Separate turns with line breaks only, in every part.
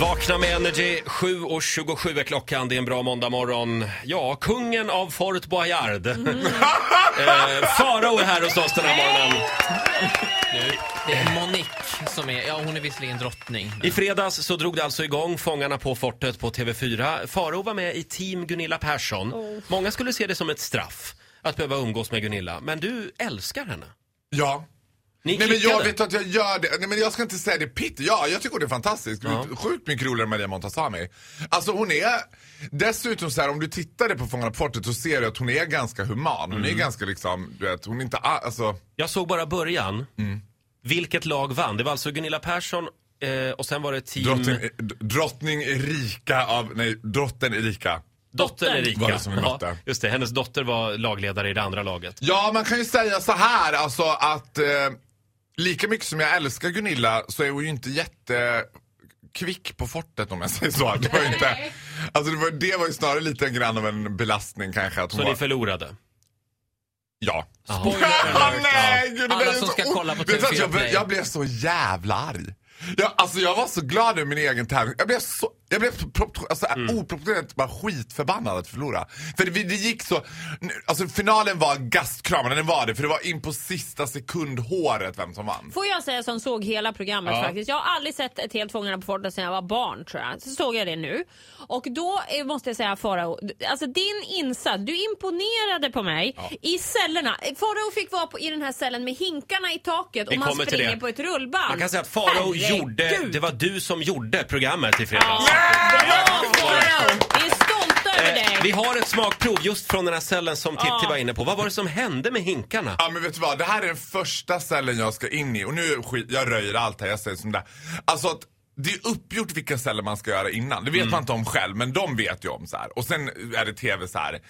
Vakna med Energy, 7.27 är klockan. Det är en bra måndag morgon. Ja, kungen av Fort Boyard. eh, Farao är här hos oss den här morgonen.
nu. Det är Monique som är, ja hon är visserligen drottning. Men...
I fredags så drog det alltså igång Fångarna på fortet på TV4. Farao var med i team Gunilla Persson. Många skulle se det som ett straff att behöva umgås med Gunilla. Men du älskar henne.
Ja.
Ni
Nej men jag
klickade.
vet att jag gör det. Nej men jag ska inte säga det pitt. Ja, jag tycker hon är fantastisk. Sjukt mycket roligare än Maria Montazami. Alltså hon är... Dessutom så här, om du tittade på Fångarna på fortet så ser du att hon är ganska human. Hon är ganska liksom, du vet, hon är inte a- alltså...
Jag såg bara början.
Mm.
Vilket lag vann? Det var alltså Gunilla Persson eh, och sen var det team...
Drottning, d- drottning Erika av... Nej, drotten Erika.
Dottern Erika.
Var det som en dotter.
Ja, just det, hennes dotter var lagledare i det andra laget.
Ja, man kan ju säga så här alltså att eh, lika mycket som jag älskar Gunilla så är hon ju inte jätte kvick på fortet om jag säger så. Det var ju, inte, alltså det var, det var ju snarare lite grann av en belastning kanske. Att hon
Så
var,
ni förlorade.
Ja.
Spoiler alert.
Nej, gud, det
Alla
där är
som
så
ska
o-
kolla på
Vet du att
TV4
jag, blev-
Play.
jag blev så jävla arg. Jag, alltså jag var så glad över min egen tävling. Jag blev så jag blev så prop- alltså,
Mm.
oproportionerligt bara skitförbannad att förlora. För det, det gick så... Alltså finalen var gastkramande, den var det. För det var in på sista sekund håret vem som vann.
Får jag säga som såg hela programmet
Ja.
faktiskt. Jag har aldrig sett ett helt Fångarna på fortet sedan jag var barn tror jag. Så såg jag det nu. Och då eh, måste jag säga Farao, d- alltså din insats, du imponerade på mig i cellerna. Eh, Farao fick vara på, i den här cellen med hinkarna i taket
Vi
och man
kommer till
springer
det.
på ett rullband.
Man kan säga att Farao
Herregud.
gjorde, det var du som gjorde programmet i
Ja,
fredags.
Bra Farao! Vi är stolta över
Eh, vi
dig.
har ett smakprov just från den här cellen som Titti var inne på. Vad var det som hände med hinkarna?
Ja men vet du vad, det här är den första cellen jag ska in i och nu skit, jag röjer allt här, jag säger som det är. Alltså att det är uppgjort vilka celler man ska göra innan. Det vet man inte om själv men de vet ju om så här. Och sen är det tv så här.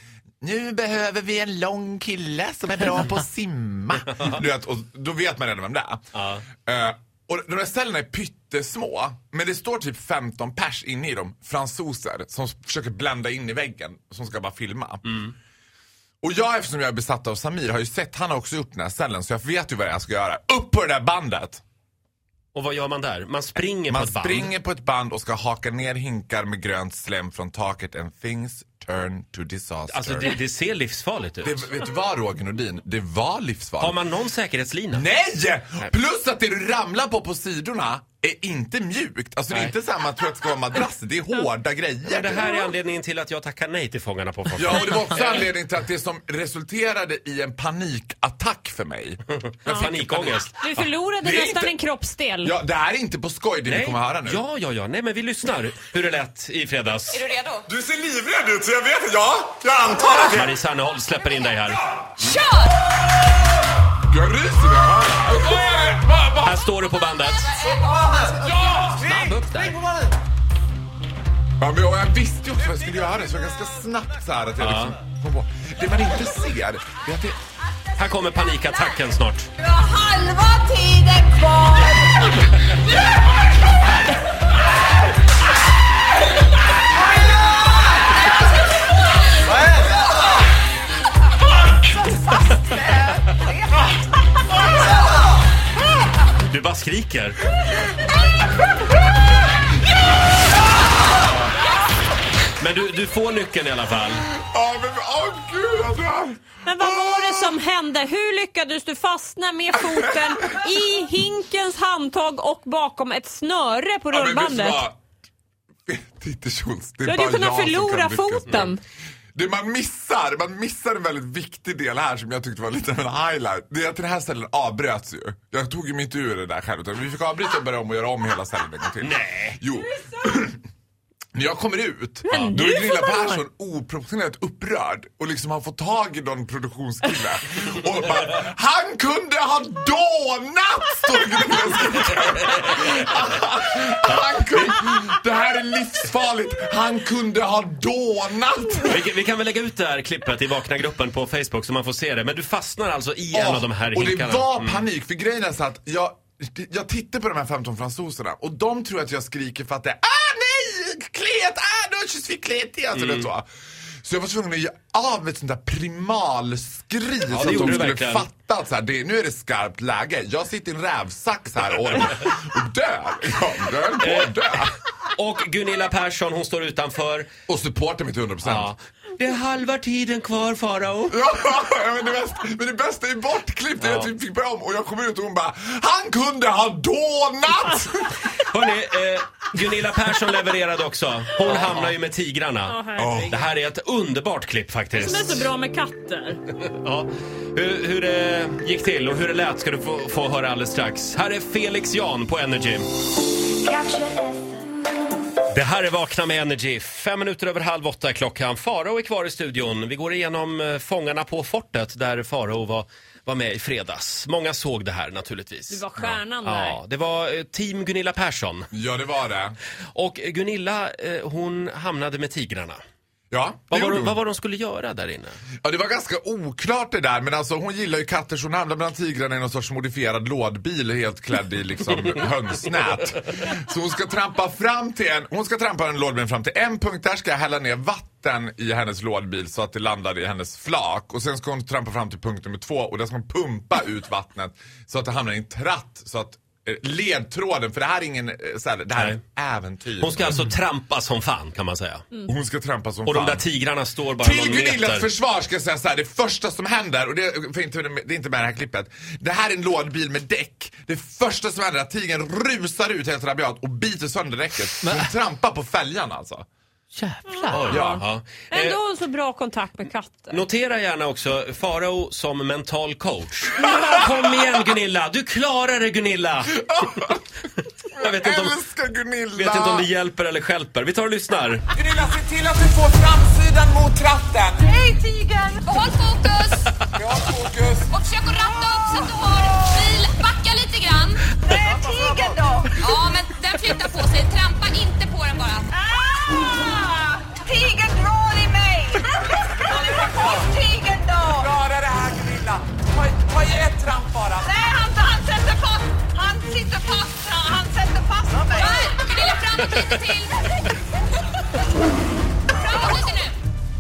Nu behöver vi en lång kille som är bra på att simma. Du vet, och då vet man redan vem det är. Eh, och de där cellerna är pyttesmå, men det står typ 15 pers inne i dem. Fransoser som s- försöker blända in i väggen, som ska bara filma. Och jag eftersom jag är besatt av Samir har ju sett, han har också upp den här cellen så jag vet ju vad jag ska göra. Upp på det där bandet!
Och vad gör man där? Man springer på
Man
ett band.
springer på ett band och ska haka ner hinkar med grönt slem från taket and things turn to disaster.
Alltså det, det ser livsfarligt ut.
Det, vet du vad Roger Nordin? Det var livsfarligt.
Har man någon säkerhetslina?
Nej! Plus att det du ramlar på på sidorna är inte mjukt. Alltså det är inte samma tror att det ska vara madrasser, det är hårda grejer.
Det här är anledningen till att jag tackar nej till Fångarna på fortet.
Ja, och det var också anledningen till att det som resulterade i en panikattack för mig.
Med panikångest.
Du förlorade
Det är
nästan
inte-
en kroppsdel.
Ja, det här är inte på skoj det ni kommer höra nu.
Ja, ja, ja. Nej, men vi lyssnar hur det lät i fredags.
Du ser livrädd ut så jag vet, ja, jag antar att
Marie Serneholt släpper in dig här.
Jag ryser där.
Här står du på bandet.
Snabb upp där.
Ja, men jag visste ju också vad jag skulle göra så jag ganska snabbt så här att jag liksom kom på. Det man inte ser, det är att det...
Här kommer panikattacken snart.
Du har halva tiden kvar!
Du bara skriker. Men du, du får nyckeln i alla fall.
Ja, men åh gud vad bra!
Men vad var det som hände? Hur lyckades du fastna med foten i hinkens handtag och bakom ett snöre på
Ja, men vet du
rullbandet?
vad? Titti Schultz, det är
Du hade
bara
ju kunnat
jag som
förlora
kan lyckas med
foten.
Det man missar, man missar en väldigt viktig del här som jag tyckte var lite av en highlight. Det är att den här cellen avbröts ju. Jag tog ju mitt ur det där själv. Utan vi fick avbryta och börja om och göra om hela cellen en gång till. Nej! Jo. När jag kommer ut,
Men
då
nu
är Gunilla
får man-
Persson oproportionerligt upprörd och liksom har fått tag i någon produktionskille. och bara, han kunde ha dånat! Står Gunilla och skriker. han kunde, Det här är livsfarligt. Han kunde ha dånat!
Vi, vi kan väl lägga ut det här klippet i vakna gruppen på Facebook så man får se det. Men du fastnar alltså i en
Ja,
av de här
Och
hinkarna. Mm.
det var panik för grejen är så att jag, jag tittar på de här 15 fransoserna och de tror att jag skriker för att det är ah nej, klet, ah nu har vi klet igen. Så, det är
Mm.
så. så jag var tvungen att ge av ett sånt där primalskri
det
så att
gjorde du
de skulle
verkligen.
fatta att så här, det, nu är det skarpt läge. Jag sitter i en rävsax här och, och dör. Ja, jag höll på att dö.
Och Gunilla Persson, hon står utanför.
Och supporten mig till 100%.
Ja. Det är halva tiden kvar, Farao.
Ja, men, det bästa, men det bästa är bortklippt. Ja. Jag typ fick börja om och jag kommer ut och hon bara Han kunde ha dånat!
Hörni, eh, Gunilla Persson levererade också. Hon hamnar ju med tigrarna.
herregud.
Det här är ett underbart klipp
Som är
faktiskt.
så bra med katter.
Ja. Hur, hur det gick till och hur det lät ska du få, få höra alldeles strax. Här är Felix Jan på Energy. Det här är Vakna med Energy. Fem minuter över halv åtta är klockan. Farao är kvar i studion. Vi går igenom eh, Fångarna på fortet där Farao var, var med i fredags. Många såg det här naturligtvis.
Du var stjärnan
Ja, det var eh, team Gunilla Persson.
Ja, det var det.
Och eh, Gunilla, eh, hon hamnade med tigrarna.
Ja,
Vad
det
var,
gjorde
de,
hon.
vad var de skulle göra där inne?
ja, det var ganska oklart det där. Men alltså hon gillar ju katter så hon hamnar bland tigrarna i någon sorts modifierad lådbil helt klädd i liksom hönsnät. Så hon ska trampa fram till en, hon ska trampa en lådbil fram till en punkt. Där ska jag hälla ner vatten i hennes lådbil så att det landar i hennes flak. Och sen ska hon trampa fram till punkt nummer två och där ska hon pumpa ut vattnet så att det hamnar i en tratt. Så att eh, ledtråden, för det här är ingen, eh, så här, det här är ett äventyr.
Hon ska alltså trampa som fan kan man säga.
hon ska trampa som
Och
fan.
de där tigrarna står bara
Till
någon
Gunillas
meter.
försvar ska jag säga så här, det första som händer, och det, för inte, det är inte med i det här klippet. Det här är en lådbil med däck. Det första som händer är att tigern rusar ut helt rabiat och biter sönder däcket. Hon trampar på fälgarna alltså.
Ja. Ja.
Ändå
Eh,
har hon så bra kontakt med katter.
notera gärna också Farao som mental coach. Kom igen Gunilla, du klarar det Gunilla! Jag vet inte om,
Älskar Gunilla!
vet inte om det hjälper eller stjälper. Vi tar och lyssnar.
Gunilla, se till att du får framsidan mot tratten.
Hej tigern! Behåll fokus
Bra fokus.
och försök att ratta upp så att du har bil. Backa lite grann.
Nej, tigern då?
Ja, men den flyttar på sig. Trampa inte på den bara.
Ah!
Tigern drar i mig!
Tigern då? Klara det här, Gunilla. Ta, ta i ett tramp bara.
Nej, han, han sätter fast. Han sitter fast. Han sätter fast mig. Gunilla, framåt lite till. Framåt lite nu.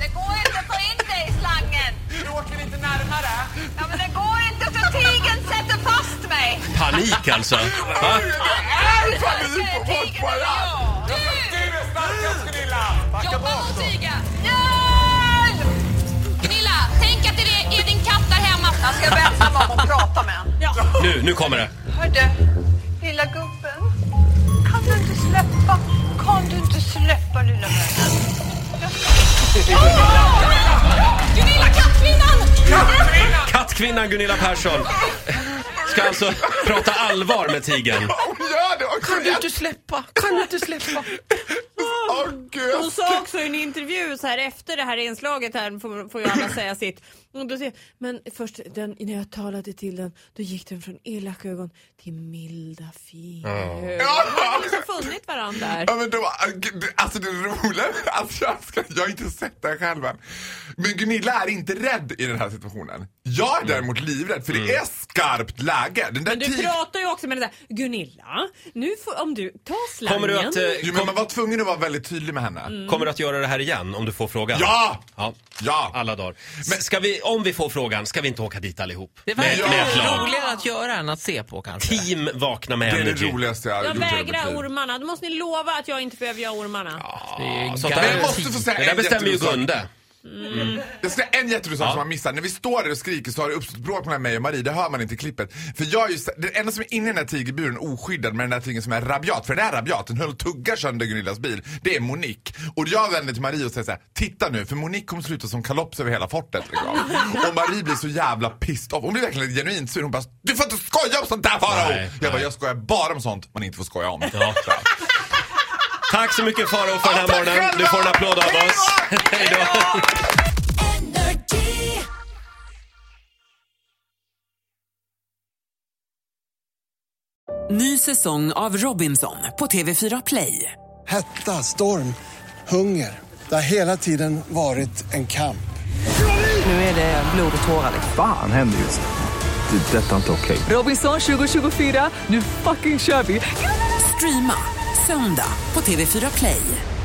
Det går inte att få in dig i slangen. Du åker lite närmare. Ja, men det går inte för tigern sätter fast mig.
Panik alltså. Va?
Det är panik på folk bara.
Du!
Du är starkast, Gunilla. Backa
Jobba
bort.
mot tigern. Hjälp! Gunilla, tänk att det är din katt där hemma.
Alltså, Jag ska vända mig om och prata med honom.
Nu, nu kommer det.
Hörde, lilla gubben. Kan du inte släppa? Kan du inte släppa lilla vännen?
Gunilla, kattkvinnan!
Kattkvinnan Gunilla Persson ska alltså prata allvar med tigern.
Hon gör det också! Kan du inte släppa? Kan du inte släppa? Åh
Hon
gud!
sa också i en intervju så här efter det här inslaget här får, får ju alla säga sitt. Och då säger, men först den, när jag talade till den då gick den från elaka ögon till milda fina ögon. De har liksom funnit varandra där.
Ja, men då, alltså det roliga, alltså jag, ska, jag har inte sett det här själv än. Men Gunilla är inte rädd i den här situationen. Jag är
Mm.
däremot livrädd för det är skarpt läge. Den där
Men du
tig-
pratar ju också med den där Gunilla, nu får, om du tar slangen.
Kommer du att,
Jo,
eh,
men man var tvungen att vara väldigt tydlig med henne.
kommer du att göra det här igen om du får frågan?
Ja!
ja.
Ja!
Alla dagar. Men ska vi, om vi får frågan, ska vi inte åka dit allihop?
Det
Med,
verkar
med ett
ju
lag.
roligare att göra än att se på kanske.
Team Vakna med
Det är
Energy.
det roligaste jag har
Jag
gjort i hela mitt
vägrar
liv.
ormarna, då måste ni lova att jag inte behöver göra ormarna.
Det är ju
sånt där-
Men jag
garanti.
måste få säga
Det där
en
bestämmer ju
jätterolig sak.
Gunde.
Jag ska en jätterolig sak som man missar. När vi står där och skriker så har det uppstått bråk mellan mig och Marie. Det hör man inte i klippet. För jag är ju, den enda som är inne i den här tigerburen oskyddad med den där tigern som är rabiat. För den är rabiat. Den höll och tuggar sönder Gunillas bil. Det är Monique. Och jag vänder till Marie och säger så här. Titta nu för Monique kommer sluta som kalops över hela fortet. Liksom. Och Marie blir så jävla pissed off. Hon blir verkligen genuint sur. Hon bara. Du får inte skoja om sånt där Farao!
Nej,
Jag bara.
nej.
Jag skojar bara om sånt man inte får skoja om.
Ja. Tack så mycket Farao för den här
Ja, tack
morgonen. Du
själva!
får en applåd av oss. Hej då!
Ny säsong av Robinson på TV4 Play.
Hetta, storm, hunger. Det har hela tiden varit en kamp.
Nu är det Eh, blod och tårar.
Fan händer just nu. Det. är Detta är inte okej.
Robinson 2024, nu fucking kör vi! Streama söndag på TV4 Play.